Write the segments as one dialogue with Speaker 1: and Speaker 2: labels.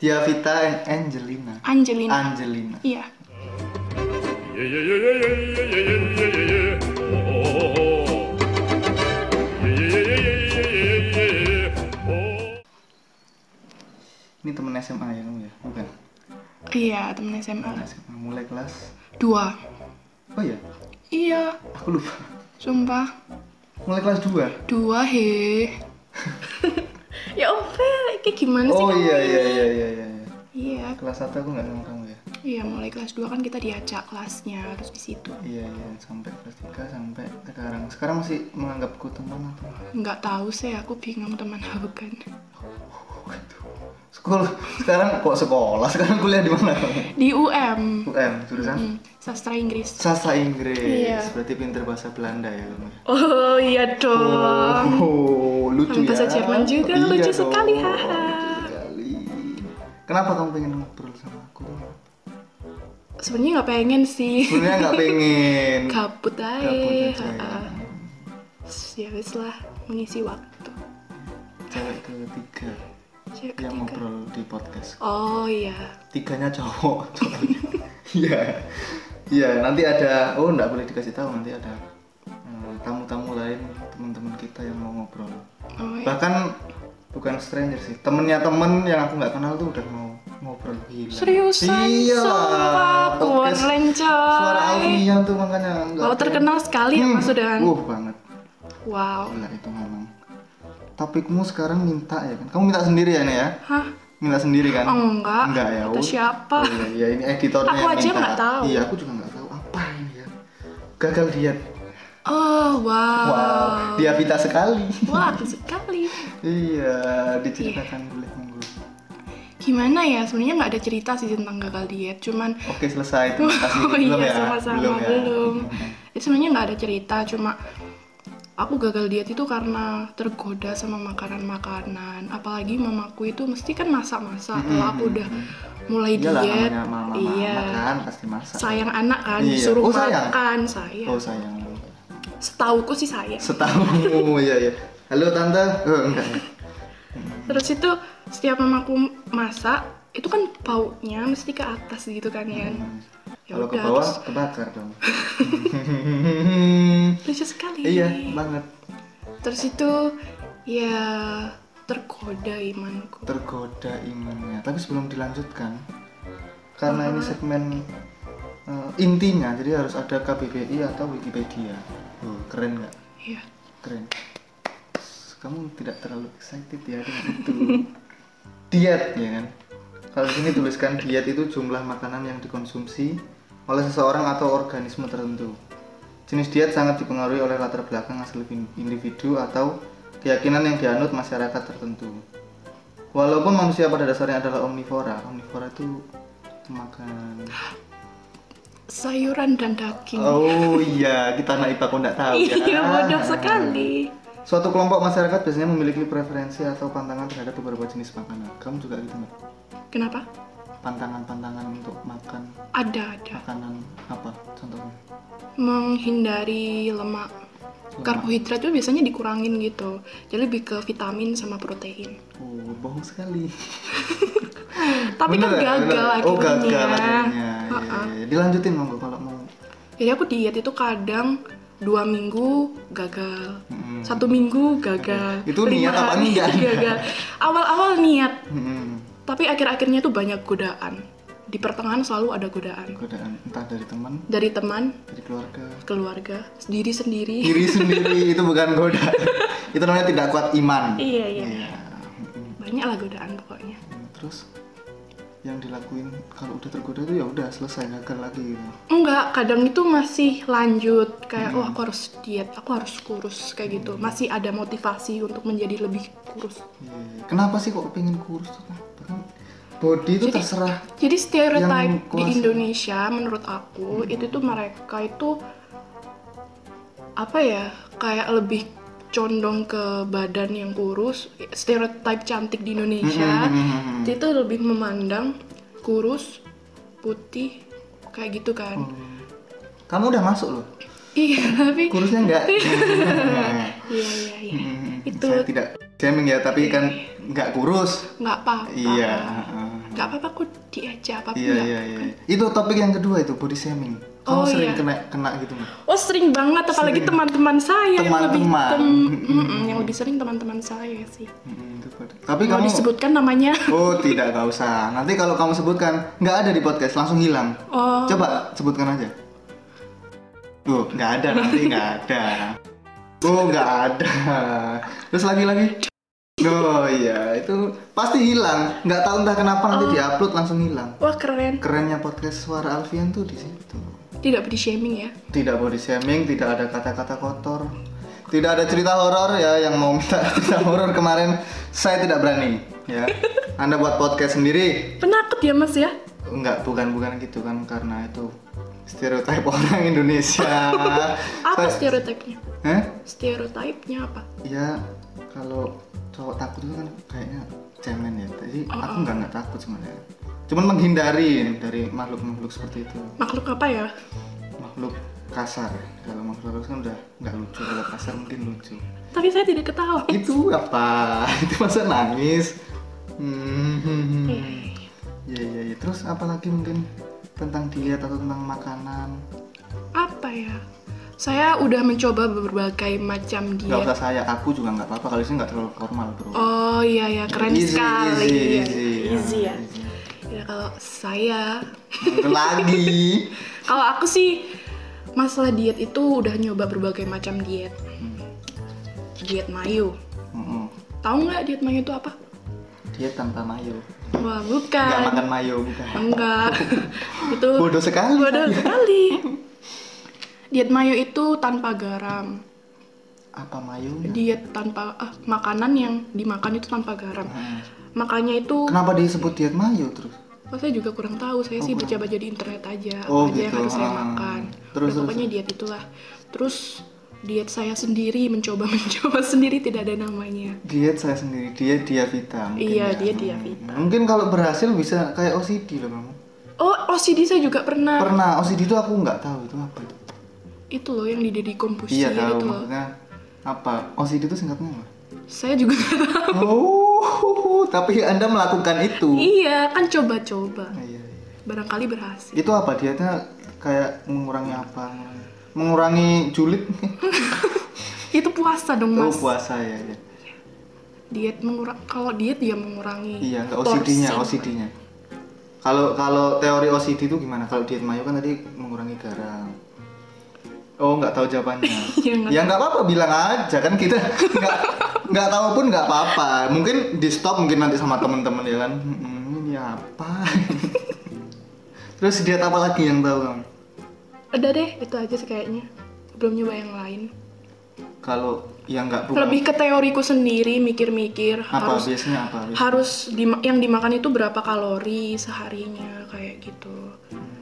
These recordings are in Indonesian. Speaker 1: Diavita and Angelina.
Speaker 2: Angelina.
Speaker 1: Angelina.
Speaker 2: Iya.
Speaker 3: Yeah, yeah, yeah, yeah, yeah, yeah, yeah, yeah, yeah, yeah. Oh, oh, oh. Yeah, yeah, yeah, yeah, yeah, yeah, yeah, yeah, yeah. Oh.
Speaker 1: Ini temen SMA ya kamu ya? Bukan.
Speaker 2: Iya, temen SMA.
Speaker 1: SMA mulai kelas.
Speaker 2: Dua.
Speaker 1: Oh iya,
Speaker 2: Iya,
Speaker 1: aku lupa.
Speaker 2: sumpah.
Speaker 1: Mulai kelas 2.
Speaker 2: Dua, he. ya oke, kayak gimana sih
Speaker 1: Oh
Speaker 2: kamu?
Speaker 1: iya iya iya iya iya.
Speaker 2: Iya,
Speaker 1: Kelas 1 aku nggak sama kamu ya.
Speaker 2: iya mulai kelas 2 kan kita diajak kelasnya terus di situ.
Speaker 1: Iya iya sampai kelas 3 sampai sekarang. Sekarang masih menganggapku teman atau
Speaker 2: Nggak tahu sih, aku bingung teman aku kan.
Speaker 1: gitu? sekolah sekarang kok sekolah sekarang kuliah di mana kamu?
Speaker 2: Di UM,
Speaker 1: UM jurusan
Speaker 2: Hmm, sastra Inggris.
Speaker 1: sastra Inggris
Speaker 2: Iya.
Speaker 1: berarti pinter bahasa Belanda ya kamu ya?
Speaker 2: Oh iya dong.
Speaker 1: oh, lucu
Speaker 2: Bahasa
Speaker 1: ya
Speaker 2: Jerman juga, lucu sekali, haha.
Speaker 1: lucu sekali kenapa kamu pengen ngobrol sama aku
Speaker 2: Sebenarnya nggak pengen sih.
Speaker 1: sebenarnya nggak pengen
Speaker 2: Kabut aja.
Speaker 1: Gabut aja ya.
Speaker 2: ha-ha. Ya wis lah, mengisi waktu.
Speaker 1: cewek ketiga
Speaker 2: Cewek
Speaker 1: yang
Speaker 2: ketiga.
Speaker 1: Ya, ngobrol di podcast
Speaker 2: Oh iya.
Speaker 1: tiganya cowok soalnya. iya iya nanti ada oh nggak boleh dikasih tahu nanti ada eh, tamu-tamu lain teman-teman kita yang mau ngobrol
Speaker 2: Oh iya.
Speaker 1: bahkan bukan stranger sih temennya temen yang aku nggak kenal tuh udah mau ngobrol gila
Speaker 2: Seriusan,
Speaker 1: iya
Speaker 2: sumpah,
Speaker 1: podcast
Speaker 2: keren, coy.
Speaker 1: suara Alfian tuh makanya nggak
Speaker 2: Wow,
Speaker 1: pengen.
Speaker 2: terkenal sekali ya
Speaker 1: Hmm,
Speaker 2: Mas Udan.
Speaker 1: wuh banget
Speaker 2: Wow.
Speaker 1: gila itu memang topikmu sekarang minta ya kan kamu minta sendiri ya nih ya
Speaker 2: Hah?
Speaker 1: minta sendiri kan
Speaker 2: Enggak.
Speaker 1: enggak ya
Speaker 2: Itu
Speaker 1: oh.
Speaker 2: siapa?
Speaker 1: oh, iya, iya, ini editornya
Speaker 2: Aku
Speaker 1: yang
Speaker 2: aja
Speaker 1: minta.
Speaker 2: nggak tahu.
Speaker 1: iya aku juga nggak tahu apa ini ya gagal diet
Speaker 2: Oh, wow.
Speaker 1: wow dia minta sekali
Speaker 2: Wah, aku sekali.
Speaker 1: iya diceritakan boleh monggo
Speaker 2: Gimana ya? Sebenarnya nggak ada cerita sih tentang gagal diet, cuman
Speaker 1: Oke selesai terima kasih.
Speaker 2: Oh
Speaker 1: belum
Speaker 2: iya,
Speaker 1: ya?
Speaker 2: sama-sama
Speaker 1: belum.
Speaker 2: belum.
Speaker 1: Ya?
Speaker 2: Jadi sebenarnya nggak ada cerita, cuma aku gagal diet itu karena tergoda sama makanan-makanan. Apalagi mamaku itu mesti kan masak-masak. Kalau aku udah mulai
Speaker 1: Iyalah
Speaker 2: diet,
Speaker 1: namanya mama
Speaker 2: iya.
Speaker 1: makan pasti masak.
Speaker 2: Sayang iya. anak kan,
Speaker 1: Iya.
Speaker 2: disuruh
Speaker 1: Oh, sayang?
Speaker 2: makan, sayang.
Speaker 1: Oh sayang.
Speaker 2: Setauku sih sayang.
Speaker 1: Setahu iya iya. Halo tante. Oh, enggak.
Speaker 2: Terus itu setiap mamaku masak, itu kan baunya mesti ke atas gitu kan ya. Ya
Speaker 1: Hmm. Kalau ke
Speaker 2: udah,
Speaker 1: bawah
Speaker 2: terus-
Speaker 1: kebakar dong.
Speaker 2: lucu sekali.
Speaker 1: iya banget
Speaker 2: Terus itu ya tergoda imanku.
Speaker 1: tergoda imannya. Tapi sebelum dilanjutkan karena ini segmen eh, intinya jadi harus ada KBBI atau Wikipedia. Oh, keren nggak?
Speaker 2: Iya.
Speaker 1: keren kamu tidak terlalu excited ya dengan itu diet ya kan kalau di sini tuliskan diet itu jumlah makanan yang dikonsumsi oleh seseorang atau organisme tertentu jenis diet sangat dipengaruhi oleh latar belakang asli in- individu atau keyakinan yang dianut masyarakat tertentu walaupun manusia pada dasarnya adalah omnivora omnivora itu makan
Speaker 2: Sayuran dan daging.
Speaker 1: oh iya kita anak IPA kok nggak tahu ya
Speaker 2: Iya, bodoh sekali.
Speaker 1: Suatu kelompok masyarakat biasanya memiliki preferensi atau pantangan terhadap beberapa jenis makanan. Kamu juga gitu nggak?
Speaker 2: Kenapa?
Speaker 1: Pantangan-pantangan untuk makan
Speaker 2: Ada, ada.
Speaker 1: makanan apa? Contohnya?
Speaker 2: Menghindari lemak. Karbohidrat itu biasanya dikurangin gitu. Jadi lebih ke vitamin sama protein.
Speaker 1: Oh, bohong sekali.
Speaker 2: Tapi
Speaker 1: Bener
Speaker 2: kan
Speaker 1: ya?
Speaker 2: gagal
Speaker 1: Bener.
Speaker 2: akhirnya.
Speaker 1: Oh, gagal akhirnya. Iya,
Speaker 2: Ha-ha.
Speaker 1: iya, iya. Dilanjutin monggo kalau mau.
Speaker 2: Jadi aku diet itu kadang dua minggu gagal,
Speaker 1: Mm-mm.
Speaker 2: satu minggu gagal,
Speaker 1: Itu
Speaker 2: lima
Speaker 1: niat apa
Speaker 2: hari
Speaker 1: enggak?
Speaker 2: gagal. Awal-awal niat,
Speaker 1: Hmm,
Speaker 2: tapi akhir-akhirnya tuh banyak godaan. Di pertengahan selalu ada godaan
Speaker 1: godaan entah dari teman,
Speaker 2: dari teman,
Speaker 1: dari keluarga,
Speaker 2: keluarga, sendiri sendiri.
Speaker 1: diri sendiri itu bukan godaan. itu namanya tidak kuat iman.
Speaker 2: Iya iya,
Speaker 1: Iya. Mm-mm.
Speaker 2: banyak lah godaan pokoknya.
Speaker 1: Terus yang dilakuin kalau udah tergoda itu ya udah selesai gagal lagi gitu.
Speaker 2: Enggak, kadang itu masih lanjut kayak wah aku harus diet, aku harus kurus kayak gitu. Masih ada motivasi untuk menjadi lebih kurus.
Speaker 1: Iya. Kenapa sih kok pengen kurus tuh? Kenapa? Kan Body itu terserah.
Speaker 2: Jadi stereotype
Speaker 1: Yang
Speaker 2: di
Speaker 1: kuasa. Hmm.
Speaker 2: Indonesia menurut aku itu tuh mereka itu apa ya kayak lebih condong ke badan yang kurus stereotype cantik di
Speaker 1: Hmm,
Speaker 2: Indonesia
Speaker 1: Mm-mm.
Speaker 2: itu lebih memandang kurus putih kayak gitu
Speaker 1: Hmm.
Speaker 2: kan
Speaker 1: Kamu udah masuk loh.
Speaker 2: iya tapi
Speaker 1: Kurusnya enggak. Hmm,
Speaker 2: iya iya iya itu
Speaker 1: Saya tidak shaming ya, tapi kan enggak kurus.
Speaker 2: nggak apa-apa
Speaker 1: Iya. heeh.
Speaker 2: nggak apa-apa aku diet aja apa
Speaker 1: Iya iya iya. Itu topik yang kedua itu body shaming. Kamu
Speaker 2: Oh,
Speaker 1: sering
Speaker 2: iya.
Speaker 1: kena kena gitu nggak?
Speaker 2: Oh sering banget, apalagi
Speaker 1: Sering.
Speaker 2: teman-teman saya yang lebih
Speaker 1: Teman-teman.
Speaker 2: tem- Mm-mm, yang lebih sering teman-teman saya sih.
Speaker 1: Mm, itu pada- Tapi
Speaker 2: Mau
Speaker 1: kamu
Speaker 2: disebutkan namanya?
Speaker 1: Oh tidak gak usah. Nanti kalau kamu sebutkan nggak ada di podcast langsung hilang.
Speaker 2: Oh.
Speaker 1: Coba sebutkan aja. Tuh nggak ada nanti nggak ada. Oh nggak ada. Terus lagi lagi. Oh iya itu pasti hilang. Nggak tahu entah kenapa nanti diupload langsung hilang.
Speaker 2: Wah keren,
Speaker 1: Kerennya podcast suara Alfian tuh di situ.
Speaker 2: tidak body shaming ya.
Speaker 1: Tidak body shaming, tidak ada kata-kata kotor. Tidak ada cerita horor ya yang mau minta cerita horor kemarin saya tidak berani ya. Anda buat podcast sendiri
Speaker 2: Penakut ya mas ya?
Speaker 1: Enggak, bukan bukan gitu kan karena itu stereotip orang Indonesia.
Speaker 2: Apa
Speaker 1: Saya-
Speaker 2: stereotipnya?
Speaker 1: Hah?
Speaker 2: Stereotipnya apa?
Speaker 1: Ya kalau cowok takut itu kan kayaknya cemen ya. Jadi aku nggak nggak takut sebenarnya. Cuman menghindari dari makhluk-makhluk seperti itu.
Speaker 2: Makhluk apa ya?
Speaker 1: Makhluk kasar. Kalau makhluk halus kan udah nggak lucu. Kalau kasar mungkin lucu.
Speaker 2: Tapi saya tidak ketawa.
Speaker 1: Itu apa? itu masa nangis? Hmm, hmm, hmm.
Speaker 2: Iya, iya.
Speaker 1: Ya, ya, ya. Terus apalagi mungkin tentang dilihat atau tentang makanan?
Speaker 2: Apa ya? Saya udah mencoba berbagai macam
Speaker 1: Gak
Speaker 2: diet.
Speaker 1: usah saya, aku juga nggak apa-apa kalau sini nggak terlalu formal bro.
Speaker 2: Iya. Oh iya ya, keren
Speaker 1: Easy,
Speaker 2: sekali.
Speaker 1: Easy,
Speaker 2: Iya.
Speaker 1: easy,
Speaker 2: Easy ya.
Speaker 1: easy.
Speaker 2: Ya kalau saya,
Speaker 1: Mungkin Lagi.
Speaker 2: kalau aku sih masalah diet itu udah nyoba berbagai macam diet. Diet mayo.
Speaker 1: Mm-mm.
Speaker 2: Tahu nggak diet mayo itu apa?
Speaker 1: Dia tanpa mayo.
Speaker 2: Wah
Speaker 1: Nggak
Speaker 2: bukan.
Speaker 1: makan mayo bukan.
Speaker 2: Enggak. itu
Speaker 1: Bodoh sekali.
Speaker 2: bodoh sekali. Diet mayo itu tanpa garam.
Speaker 1: Apa mayo?
Speaker 2: Diet tanpa ah, makanan yang dimakan itu tanpa garam.
Speaker 1: Hmm.
Speaker 2: Makanya itu
Speaker 1: Kenapa disebut diet mayo terus?
Speaker 2: Oh, saya juga kurang tahu. Saya sih baca-baca di internet aja.
Speaker 1: Oh,
Speaker 2: apa aja yang
Speaker 1: gitu.
Speaker 2: harus saya
Speaker 1: Ah.
Speaker 2: makan.
Speaker 1: Terus,
Speaker 2: Udah,
Speaker 1: terus,
Speaker 2: pokoknya diet itulah. Terus diet saya sendiri mencoba mencoba sendiri tidak ada namanya.
Speaker 1: Diet saya sendiri, dia dia Vita mungkin ya.
Speaker 2: Iya, dia
Speaker 1: Hmm.
Speaker 2: Diavita.
Speaker 1: Mungkin kalau berhasil bisa kayak OCD loh kamu.
Speaker 2: Oh, OCD saya juga pernah.
Speaker 1: Pernah OCD itu aku nggak tahu itu apa. itu.
Speaker 2: itu loh yang di
Speaker 1: Iya
Speaker 2: Deddy Corbusier
Speaker 1: tahu
Speaker 2: itu loh.
Speaker 1: maksudnya apa? OCD itu singkatnya apa?
Speaker 2: Saya juga
Speaker 1: Oh, tapi Anda melakukan itu.
Speaker 2: Iya, kan coba-coba.
Speaker 1: Iya, iya.
Speaker 2: Barangkali berhasil.
Speaker 1: Itu apa dietnya kayak mengurangi apa? Mengurangi julid?
Speaker 2: Itu puasa dong,
Speaker 1: Oh,
Speaker 2: Mas.
Speaker 1: puasa ya. ya.
Speaker 2: Diet mengurang kalau diet ya mengurangi
Speaker 1: Iya, enggak
Speaker 2: porsi.
Speaker 1: OCD-nya, OCD-nya. Kalau kalau teori OCD itu gimana? Kalau diet mayo kan tadi mengurangi garam. Oh, nggak tahu jawabannya.
Speaker 2: Iya, nggak
Speaker 1: ya nggak apa-apa, bilang aja kan kita nggak nggak tahu pun nggak apa-apa. Mungkin di stop mungkin nanti sama temen-temen ya kan. Hmm, ini apa? Terus diet apa lagi yang tahu kamu?
Speaker 2: Udah deh, itu aja sih kayaknya. Belum nyoba yang lain.
Speaker 1: Kalau yang nggak bukan
Speaker 2: Lebih ke teoriku sendiri mikir-mikir
Speaker 1: apa
Speaker 2: harus
Speaker 1: biasanya apa? biasanya?
Speaker 2: harus dima- yang dimakan itu berapa kalori seharinya kayak gitu.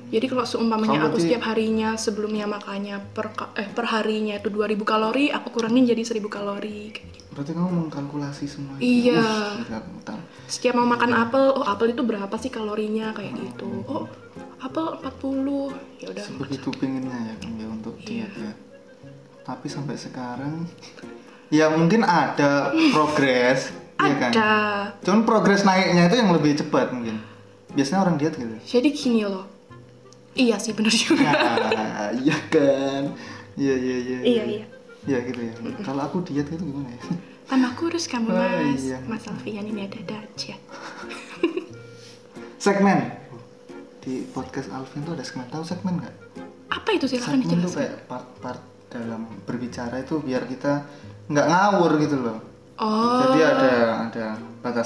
Speaker 2: Jadi kalau seumpamanya
Speaker 1: Kamu
Speaker 2: aku
Speaker 1: berarti-
Speaker 2: setiap harinya sebelumnya makannya per ka- eh per harinya itu 2000 kalori, aku kurangin jadi 1000 kalori kayak gitu.
Speaker 1: Berarti kamu mengkalkulasi semua ya?
Speaker 2: Iya.
Speaker 1: Wih, gila, kamu tahu.
Speaker 2: Setiap mau makan apel, oh apel itu berapa sih kalorinya kayak gitu. Oh, apel 40. Ya udah.
Speaker 1: Sebegitu pinginnya ya kamu ya untuk
Speaker 2: Iya.
Speaker 1: diet ya. Tapi sampai sekarang ya mungkin ada progres ya kan.
Speaker 2: Ada.
Speaker 1: Cuman progres naiknya itu yang lebih cepat mungkin. Biasanya orang diet gitu.
Speaker 2: Jadi gini loh. Iya sih bener
Speaker 1: Nah,
Speaker 2: juga.
Speaker 1: iya kan. Iya iya iya.
Speaker 2: Iya, iya.
Speaker 1: Iya gitu ya. Kalau aku diet itu gimana ya?
Speaker 2: Tambah kurus kamu
Speaker 1: Oh,
Speaker 2: mas.
Speaker 1: iya.
Speaker 2: Mas Alfian ini ada dajat.
Speaker 1: Segmen. Di podcast Alvin tuh ada segmen. Tahu segmen nggak?
Speaker 2: Apa Iya, kan itu silahkan
Speaker 1: segmen tuh
Speaker 2: dijelaskan.
Speaker 1: kayak part-part dalam berbicara itu biar kita nggak ngawur gitu loh.
Speaker 2: Oh,
Speaker 1: Jadi ada ada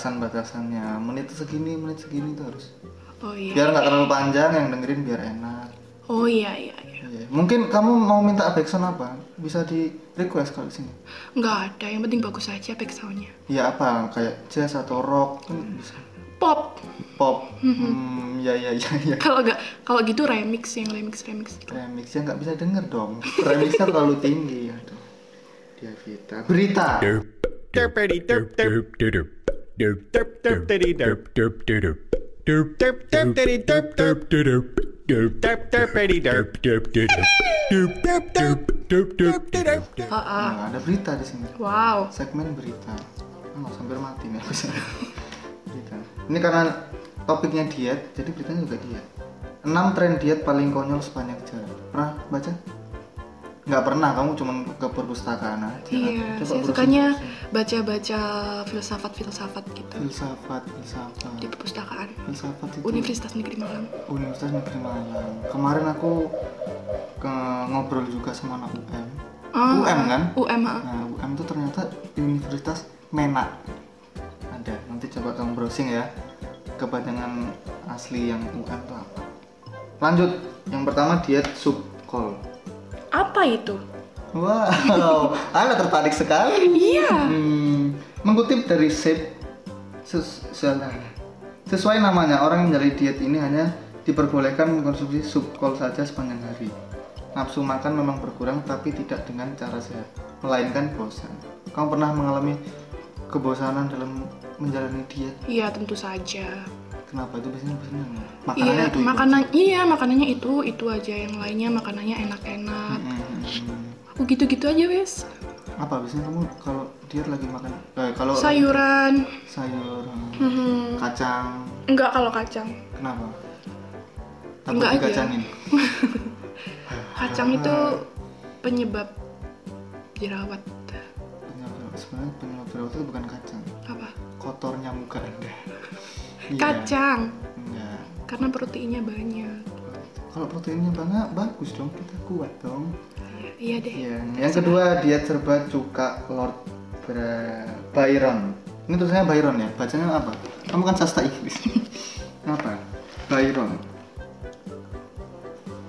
Speaker 1: batasan-batasannya. Menit segini, menit segini itu harus.
Speaker 2: oh iya.
Speaker 1: Biar nggak terlalu panjang yang dengerin biar enak.
Speaker 2: Oh iya iya. iya.
Speaker 1: Iya. Mungkin kamu mau minta backsound apa? Bisa di request kalau di sini.
Speaker 2: Nggak ada. Yang penting bagus aja backsoundnya.
Speaker 1: Ya apa? Kayak jazz atau rock kan bisa.
Speaker 2: Pop.
Speaker 1: Pop. Hmm, ya ya ya ya.
Speaker 2: Kalau nggak, kalau gitu remix yang remix remix.
Speaker 1: Remixnya nggak bisa denger dong. Remixnya terlalu tinggi. Aduh. Dia Vita. Berita.
Speaker 4: Derpity derp derp derp derp derp derp derp derp derp derp derp derp derp derp derp derp derp derp derp derpity derp derp derp derp derp derp derp derp derp derp
Speaker 2: Ah, ah.
Speaker 1: Nah, ada berita di sini.
Speaker 2: Wow.
Speaker 1: segmen berita. Oh, hampir mati nih aku sih. berita. Ini karena topiknya diet, jadi beritanya juga diet. 6 tren diet paling konyol sepanjang jalan. Pernah baca? Nggak pernah, kamu cuma ke perpustakaan aja.
Speaker 2: Iya,
Speaker 1: Coba
Speaker 2: saya
Speaker 1: browsing-
Speaker 2: sukanya baca-baca filsafat-filsafat gitu
Speaker 1: Hmm. filsafat, filsafat.
Speaker 2: di perpustakaan
Speaker 1: Filsafat itu
Speaker 2: Universitas Negeri Malang.
Speaker 1: Universitas Negeri Malang. Kemarin aku ke ngobrol juga sama anak UM.
Speaker 2: Ah,
Speaker 1: UM kan?
Speaker 2: UM, ah.
Speaker 1: Nah, UM itu ternyata Universitas Mena. Ada. Nanti coba kamu browsing ya. Kepanjangan asli yang UM itu apa? Lanjut. Yang pertama diet sub kol.
Speaker 2: Apa itu?
Speaker 1: Wow, Anda tertarik sekali.
Speaker 2: Iya.
Speaker 1: Hmm, mengutip dari Shape, ses- salah. sesuai namanya, orang yang menjalani diet ini hanya diperbolehkan mengkonsumsi sup kol saja sepanjang hari. Nafsu makan memang berkurang, tapi tidak dengan cara sehat, melainkan bosan. Kamu pernah mengalami kebosanan dalam menjalani diet?
Speaker 2: Iya, tentu saja.
Speaker 1: Kenapa itu biasanya bosan? Makanannya
Speaker 2: Iya,
Speaker 1: itu. ya?
Speaker 2: makanan iya, makanannya itu itu aja yang lainnya makanannya enak-enak. Aku gitu-gitu aja, wes.
Speaker 1: Hmm. Apa biasanya kamu kalau diet lagi makan? Eh, kalau
Speaker 2: Sayuran.
Speaker 1: sayur, hmm,
Speaker 2: Mhm.
Speaker 1: kacang,
Speaker 2: Enggak kalau kacang.
Speaker 1: Kenapa? Takut
Speaker 2: Enggak aja.
Speaker 1: dikacangin.
Speaker 2: Kacang itu penyebab jerawat.
Speaker 1: Penyebab sebenarnya penyebab jerawat itu bukan kacang,
Speaker 2: Apa?
Speaker 1: kotornya muka anda. Iya.
Speaker 2: Kacang.
Speaker 1: Enggak.
Speaker 2: Karena proteinnya banyak.
Speaker 1: Kalau proteinnya banyak bagus dong, kita kuat dong.
Speaker 2: Iya deh.
Speaker 1: Iya. Yang kedua diet serba cuka Lord Bra- Byron. Ini tulisannya Byron ya. Bacanya apa? Kamu kan sastra Inggris. apa? Byron.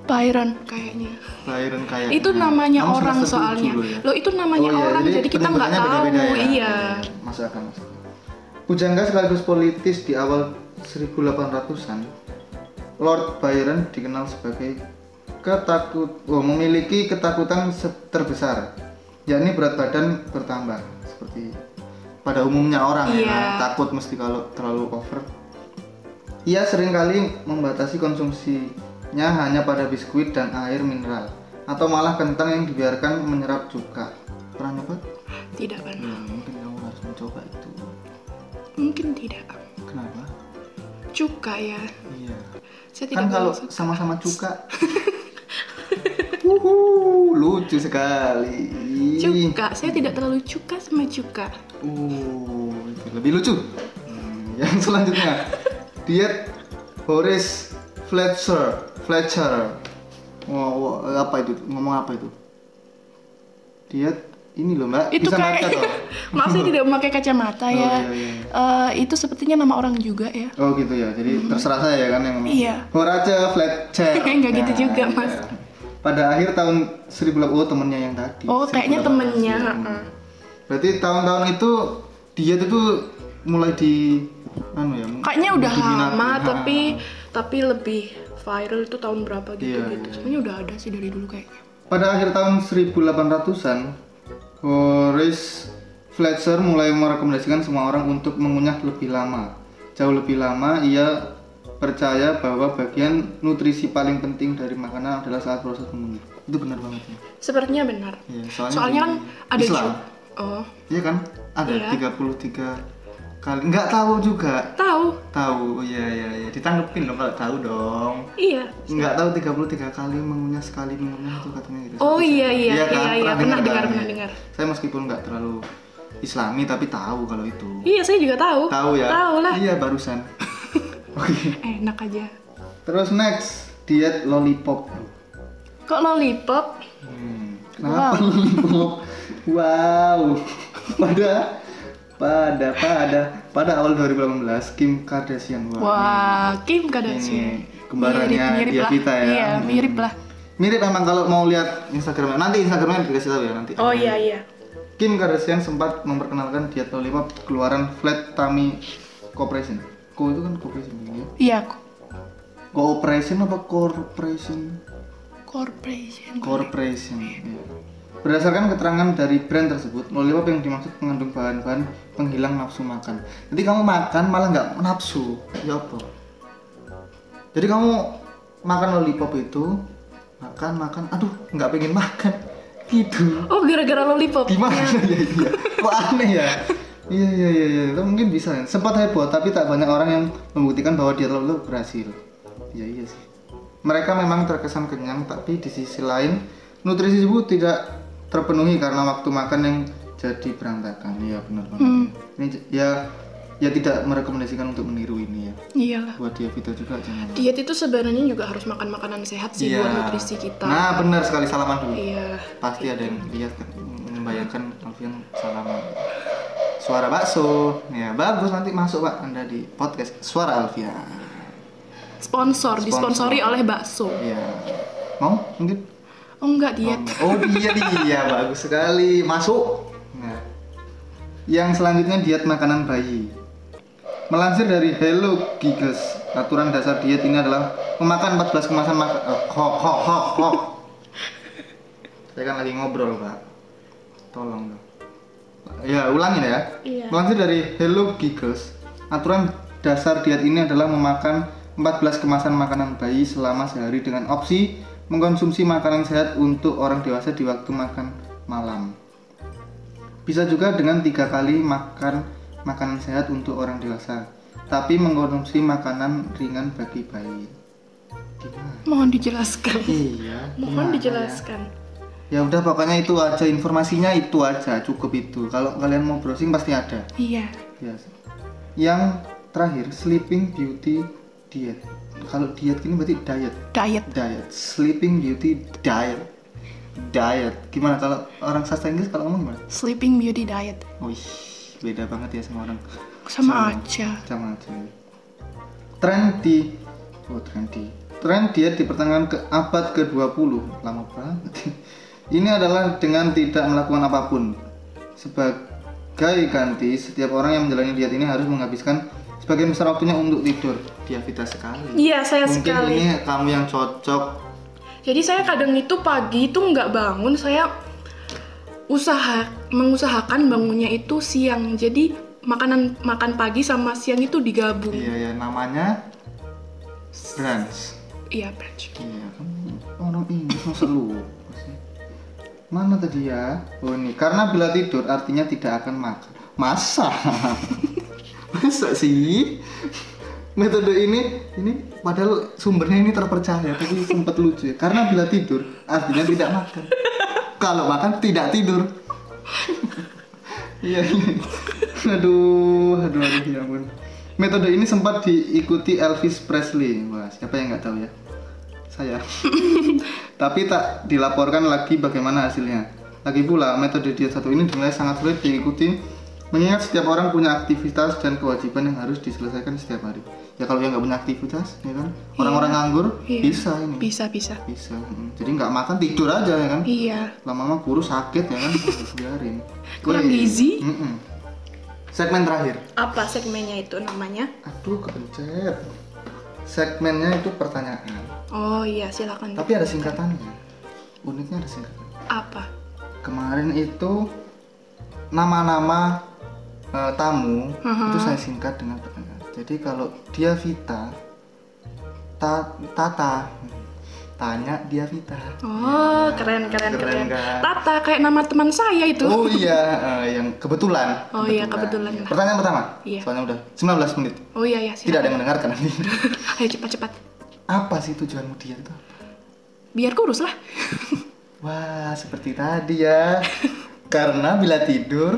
Speaker 2: Byron kayaknya.
Speaker 1: Byron kayak.
Speaker 2: Itu namanya
Speaker 1: Nah, Kamu
Speaker 2: orang
Speaker 1: semester tujuh
Speaker 2: soalnya.
Speaker 1: loh ya.
Speaker 2: Loh, itu namanya
Speaker 1: Oh iya,
Speaker 2: orang jadi, kita nggak
Speaker 1: penyebutannya
Speaker 2: tahu.
Speaker 1: beda-beda ya?
Speaker 2: Iya.
Speaker 1: Oke, Masuk akal, masuk akal. Pujangga sekaligus politis di awal 1800-an, Lord Byron dikenal sebagai ketakut oh, memiliki ketakutan se- terbesar, yakni berat badan bertambah seperti pada umumnya orang
Speaker 2: Iya.
Speaker 1: ya, takut mesti kalau terlalu over. Ia seringkali membatasi konsumsinya hanya pada biskuit dan air mineral atau malah kentang yang dibiarkan menyerap cuka. Pernah nyoba?
Speaker 2: Tidak pernah.
Speaker 1: Hmm, mungkin kamu harus mencoba itu.
Speaker 2: Mungkin tidak.
Speaker 1: Kenapa?
Speaker 2: Cuka ya.
Speaker 1: Iya.
Speaker 2: Saya tidak
Speaker 1: Kan kalau
Speaker 2: bermaksud-
Speaker 1: sama-sama cuka. Wuhu, lucu sekali.
Speaker 2: Cuka, saya tidak terlalu cuka sama cuka.
Speaker 1: Uh, itu lebih lucu. Hmm, yang selanjutnya diet Horace Fletcher. Fletcher. Wah, wah, apa itu? Ngomong apa itu? Diet ini loh mbak.
Speaker 2: Itu
Speaker 1: Bisa
Speaker 2: kayak,
Speaker 1: baca toh.
Speaker 2: maaf saya tidak memakai kacamata
Speaker 1: Oh,
Speaker 2: ya.
Speaker 1: iya, iya.
Speaker 2: Eh, itu sepertinya nama orang juga ya.
Speaker 1: Oh gitu ya, jadi terserah saya ya kan yang ngomong.
Speaker 2: Iya.
Speaker 1: Horace Fletcher.
Speaker 2: Nggak gitu juga, Mas.
Speaker 1: iya. Pada akhir tahun 1000 oh temennya yang tadi.
Speaker 2: Oh,
Speaker 1: 1800.
Speaker 2: kayaknya temennya,
Speaker 1: Hmm.
Speaker 2: heeh.
Speaker 1: Berarti tahun-tahun itu diet itu mulai di anu ya.
Speaker 2: Kayaknya udah
Speaker 1: diminati. Nah,
Speaker 2: lama,
Speaker 1: Ha.
Speaker 2: tapi tapi lebih viral itu tahun berapa gitu
Speaker 1: Iya,
Speaker 2: gitu.
Speaker 1: iya.
Speaker 2: Sebenarnya udah ada sih dari dulu kayaknya.
Speaker 1: Pada akhir tahun 1800-an, Horace Fletcher mulai merekomendasikan semua orang untuk mengunyah lebih lama. Jauh lebih lama, ia percaya bahwa bagian nutrisi paling penting dari makanan adalah saat proses mengunyah. Itu benar banget ya.
Speaker 2: Sepertinya benar.
Speaker 1: Iya, soalnya
Speaker 2: Soalnya
Speaker 1: di
Speaker 2: kan ada
Speaker 1: Islam.
Speaker 2: juga. Oh,
Speaker 1: Iya kan? Ada
Speaker 2: Iya.
Speaker 1: 33 kali. Nggak tahu juga.
Speaker 2: tahu.
Speaker 1: Tahu, iya iya iya. Ditanggepin dong kalau tahu dong.
Speaker 2: Iya.
Speaker 1: Nggak tahu 33 kali mengunyah sekali mengunyah itu katanya gitu.
Speaker 2: Oh, iya, iya, iya, iya. Pernah dengar,
Speaker 1: kan?
Speaker 2: pernah
Speaker 1: Iya.
Speaker 2: dengar.
Speaker 1: Saya meskipun nggak terlalu islami tapi tahu kalau itu.
Speaker 2: Iya, saya juga tahu.
Speaker 1: Tahu ya?
Speaker 2: Tahu lah.
Speaker 1: Iya, barusan. Oke.
Speaker 2: Enak aja.
Speaker 1: Terus next, diet lollipop.
Speaker 2: Kok lollipop?
Speaker 1: Hmm. Kenapa lollipop? Wow. Pada pada pada pada awal 2018 Kim Kardashian wow.
Speaker 2: Wah, Kim
Speaker 1: iya. ini
Speaker 2: Kardashian.
Speaker 1: kembarannya
Speaker 2: Mirip-mirip
Speaker 1: dia
Speaker 2: lah.
Speaker 1: kita ya.
Speaker 2: Iya,
Speaker 1: Hmm.
Speaker 2: mirip lah.
Speaker 1: Mirip emang kalau mau lihat Instagramnya. Nanti Instagramnya dikasih tahu ya nanti.
Speaker 2: Oh iya iya.
Speaker 1: Kim Kardashian sempat memperkenalkan diet lollipop keluaran Flat Tummy Corporation. Ko itu kan corporation ya.
Speaker 2: Iya, ko-
Speaker 1: Cooperation apa corporation?
Speaker 2: corporation.
Speaker 1: Corporation. iya. Berdasarkan keterangan dari brand tersebut, lollipop yang dimaksud mengandung bahan-bahan penghilang nafsu makan. Jadi kamu makan malah nggak nafsu, ya apa? Jadi kamu makan lollipop itu makan makan, aduh nggak pengen makan, gitu.
Speaker 2: Oh, gara-gara lollipop.
Speaker 1: Gimana ya iya? Kok Iya, aneh ya? Iya iya iya iya, itu mungkin bisa. ya. Sempat heboh, tapi tak banyak orang yang membuktikan bahwa dia terlalu berhasil. Iya iya sih. Mereka memang terkesan kenyang, tapi di sisi lain nutrisi tubuh tidak terpenuhi karena waktu makan yang jadi berantakan. Iya benar benar.
Speaker 2: Hmm.
Speaker 1: Ini j- ya ya tidak merekomendasikan untuk meniru ini ya.
Speaker 2: Iyalah.
Speaker 1: Buat diabetes juga jangan.
Speaker 2: Diet itu sebenarnya juga harus makan makanan sehat sih buat nutrisi kita.
Speaker 1: Iya. Nah benar sekali salaman dulu.
Speaker 2: Iya.
Speaker 1: Pasti ada yang lihat kan, membayangkan Alfian salaman. Suara bakso. Ya, bagus nanti masuk Pak Anda di podcast Suara Alfian.
Speaker 2: Sponsor, disponsori oleh bakso.
Speaker 1: Iya. Mau? Mungkin.
Speaker 2: Oh enggak diet.
Speaker 1: Oh, iya dia bagus sekali. Masuk. Nah. Yang selanjutnya diet makanan bayi. Melansir dari Hello Gigas, aturan dasar diet ini adalah memakan 14 kemasan eh, makan. kok kok kok kok. Saya kan lagi ngobrol, Pak. Tolong dong. Ya, ulangin ya.
Speaker 2: Iya.
Speaker 1: Melansir dari Hello Giggles, aturan dasar diet ini adalah memakan 14 kemasan makanan bayi selama sehari dengan opsi mengkonsumsi makanan sehat untuk orang dewasa di waktu makan malam. Bisa juga dengan tiga kali makan makanan sehat untuk orang dewasa, tapi mengkonsumsi makanan ringan bagi bayi. Gimana?
Speaker 2: Mohon dijelaskan.
Speaker 1: Iya.
Speaker 2: Mohon
Speaker 1: gimana ya?
Speaker 2: dijelaskan.
Speaker 1: Ya udah pokoknya itu aja informasinya itu aja cukup itu. Kalau kalian mau browsing pasti ada.
Speaker 2: Iya.
Speaker 1: Biasa. Yang terakhir sleeping beauty diet. Kalau diet ini berarti diet,
Speaker 2: Diet.
Speaker 1: diet, sleeping beauty diet, diet. Gimana kalau orang sastra Inggris kalau ngomong gimana?
Speaker 2: Sleeping Beauty diet.
Speaker 1: Wih, beda banget ya sama orang
Speaker 2: Sama aja.
Speaker 1: sama aja. Tren di, oh tren di, tren diet di pertengahan ke abad ke-20 lama banget. Ini adalah dengan tidak melakukan apapun. Sebagai ganti, setiap orang yang menjalani diet ini harus menghabiskan sebagian besar waktunya untuk tidur. Diabetes sekali.
Speaker 2: Iya, saya
Speaker 1: Mungkin
Speaker 2: sekali.
Speaker 1: ini kamu yang cocok.
Speaker 2: Jadi saya kadang itu pagi itu nggak bangun, saya usaha mengusahakan bangunnya itu siang. Jadi makanan makan pagi sama siang itu digabung.
Speaker 1: Iya ya, namanya brunch.
Speaker 2: Iya, Branch.
Speaker 1: Iya, kamu orang Inggris masa lu? Mana tadi ya? Oh ini, karena bila tidur artinya tidak akan makan. Masa? Masa sih? Metode ini, ini padahal sumbernya ini terpercaya, tapi sempat lucu ya. Karena bila tidur artinya tidak makan. Kalau makan tidak tidur. Iya. aduh, aduh, aduh, ya ampun. Metode ini sempat diikuti Elvis Presley. Wah, siapa yang nggak tahu ya? Saya. Tapi tak dilaporkan lagi bagaimana hasilnya. Lagi pula, metode diet satu ini dinilai sangat sulit diikuti mengingat setiap orang punya aktivitas dan kewajiban yang harus diselesaikan setiap hari. Ya kalau yang nggak punya aktivitas, ya kan? Orang-orang nganggur
Speaker 2: Iya.
Speaker 1: bisa ini.
Speaker 2: Bisa, bisa.
Speaker 1: Bisa. mm. Jadi nggak makan tidur aja ya kan?
Speaker 2: Iya.
Speaker 1: lama-lama kurus sakit ya kan Iya. biarin
Speaker 2: Kurang
Speaker 1: Wih.
Speaker 2: gizi.
Speaker 1: Mm-mm. segmen terakhir
Speaker 2: Apa segmennya itu namanya?
Speaker 1: aduh kepencet segmennya itu pertanyaan
Speaker 2: Oh iya, silakan.
Speaker 1: tapi ada singkatannya uniknya ada singkatan
Speaker 2: Apa?
Speaker 1: kemarin itu nama-nama eh, tamu
Speaker 2: Mm-hmm.
Speaker 1: itu saya singkat dengan pertanyaan jadi kalau dia Vita ta- Tata tanya dia Vita
Speaker 2: Oh, keren, keren,
Speaker 1: keren,
Speaker 2: keren.
Speaker 1: kan?
Speaker 2: Tata kayak nama teman saya itu.
Speaker 1: Oh iya, eh, yang kebetulan.
Speaker 2: Oh iya, kebetulan lah.
Speaker 1: Pertanyaan pertama.
Speaker 2: Iya.
Speaker 1: Soalnya udah 19 menit.
Speaker 2: Oh iya, iya,
Speaker 1: Tidak ada
Speaker 2: silakan.
Speaker 1: yang mendengarkan nanti.
Speaker 2: Ayo cepat-cepat.
Speaker 1: Apa sih tujuanmu diet itu? apa?
Speaker 2: Biar kurus lah.
Speaker 1: Wah, seperti tadi ya. Karena bila tidur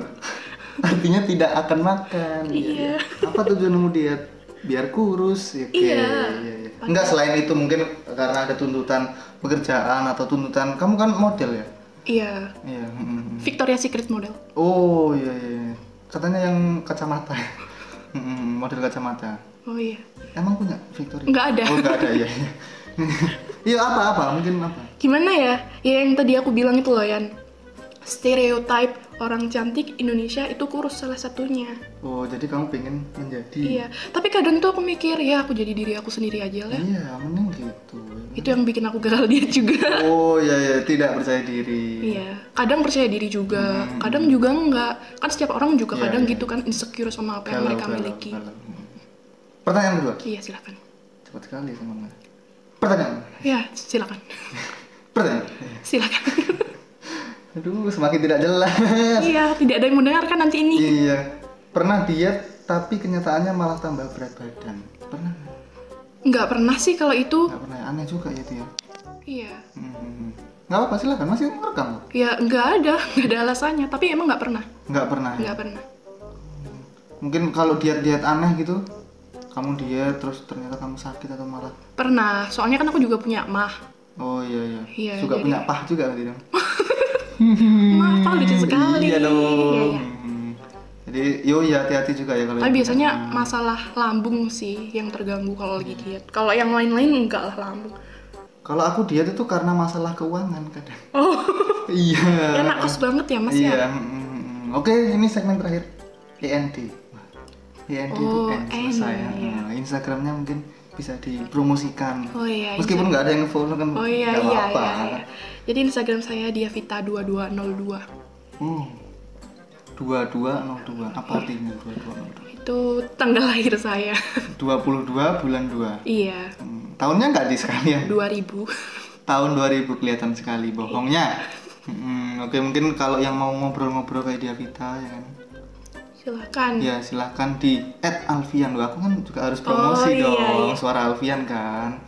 Speaker 1: artinya tidak akan makan.
Speaker 2: Iya.
Speaker 1: Apa tujuanmu diet? Biar kurus. Oke.
Speaker 2: Iya.
Speaker 1: iya. Enggak selain itu mungkin karena ada tuntutan pekerjaan atau tuntutan kamu kan model ya.
Speaker 2: iya.
Speaker 1: Iya. mm, mm.
Speaker 2: Victoria Secret model.
Speaker 1: Oh iya iya. iya. Katanya yang kacamata. Mm, model kacamata.
Speaker 2: Oh iya.
Speaker 1: Emang punya Victoria?
Speaker 2: Nggak ada.
Speaker 1: Oh nggak ada ya. Iya apa apa mungkin apa?
Speaker 2: Gimana ya? Ya yang tadi aku bilang itu loh, Yan. Stereotype orang cantik Indonesia itu kurus salah satunya.
Speaker 1: Oh jadi kamu pengen menjadi?
Speaker 2: Iya. Tapi kadang tuh aku mikir, ya aku jadi diri aku sendiri aja lah.
Speaker 1: Iya mending gitu.
Speaker 2: Itu yang bikin aku gagal dia juga.
Speaker 1: Oh iya iya tidak percaya diri.
Speaker 2: Iya, kadang percaya diri juga, kadang juga enggak. Kan setiap orang juga
Speaker 1: Iya,
Speaker 2: kadang
Speaker 1: iya.
Speaker 2: gitu kan insecure sama apa yang
Speaker 1: Galau,
Speaker 2: mereka
Speaker 1: galau,
Speaker 2: miliki.
Speaker 1: galau. Hmm. Pertanyaan kedua.
Speaker 2: Iya, silakan.
Speaker 1: Cepat sekali teman Pertanyaan.
Speaker 2: Ya, silakan.
Speaker 1: Pertanyaan.
Speaker 2: silakan.
Speaker 1: Aduh semakin tidak jelas.
Speaker 2: iya, tidak ada yang mendengarkan nanti ini.
Speaker 1: iya. Pernah diet tapi kenyataannya malah tambah berat badan. Pernah? nggak?
Speaker 2: Nggak pernah sih kalau itu.
Speaker 1: Nggak pernah. ya? Aneh juga ya itu ya.
Speaker 2: Iya.
Speaker 1: Hmm. Nggak apa-apa silahkan masih ngerekam loh.
Speaker 2: Ya nggak ada, nggak ada alasannya. Tapi emang nggak pernah,
Speaker 1: Nggak pernah. ya?
Speaker 2: nggak pernah.
Speaker 1: Mungkin kalau diet-diet aneh gitu, kamu diet terus ternyata kamu sakit atau malah
Speaker 2: Pernah. Soalnya kan aku juga punya mah.
Speaker 1: Oh iya iya.
Speaker 2: Iya,
Speaker 1: Suka
Speaker 2: jadi-
Speaker 1: punya pah juga berarti dong.
Speaker 2: Mah apa lucu sekali.
Speaker 1: Iya dong.
Speaker 2: Oh, Iya, iya.
Speaker 1: Hmm. Jadi yo ya hati-hati juga ya kalau.
Speaker 2: Tapi
Speaker 1: yang-
Speaker 2: biasanya masalah lambung sih yang terganggu kalau lagi diet. Kalau yang lain-lain enggak lah lambung.
Speaker 1: Kalau aku diet itu karena masalah keuangan kadang.
Speaker 2: Oh,
Speaker 1: iya.
Speaker 2: enak kos banget ya mas
Speaker 1: iya.
Speaker 2: ya.
Speaker 1: mm, mm, mm. Oke, ini segmen terakhir. END. Wah, END itu
Speaker 2: Oh,
Speaker 1: end selesai.
Speaker 2: end,
Speaker 1: ya.
Speaker 2: iya.
Speaker 1: Nah, Instagramnya mungkin bisa dipromosikan.
Speaker 2: Oh iya.
Speaker 1: Meskipun
Speaker 2: iya.
Speaker 1: nggak ada yang follow kan
Speaker 2: Oh iya
Speaker 1: nggak
Speaker 2: iya,
Speaker 1: apa-apa.
Speaker 2: iya iya. Jadi Instagram saya diavita2202.
Speaker 1: Hmm. 2202 apa artinya 2202?
Speaker 2: Itu tanggal lahir saya.
Speaker 1: 22 bulan 2.
Speaker 2: iya.
Speaker 1: Hmm, tahunnya nggak di sekalian?
Speaker 2: 2000.
Speaker 1: Tahun 2000 kelihatan sekali bohongnya. Hmm, oke mungkin kalau yang mau ngobrol-ngobrol kayak Diavita ya kan.
Speaker 2: Silakan.
Speaker 1: Ya silahkan di @alfian Loh, aku kan juga harus promosi
Speaker 2: Oh, iya,
Speaker 1: dong
Speaker 2: iya.
Speaker 1: suara Alfian kan.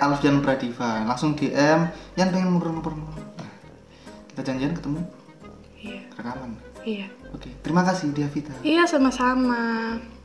Speaker 1: @alfian Pradiva langsung DM yang pengen ngobrol-ngobrol. Nah, Kita janjian ketemu
Speaker 2: Iya.
Speaker 1: rekaman.
Speaker 2: Iya.
Speaker 1: Oke, terima kasih Diavita.
Speaker 2: Iya sama-sama.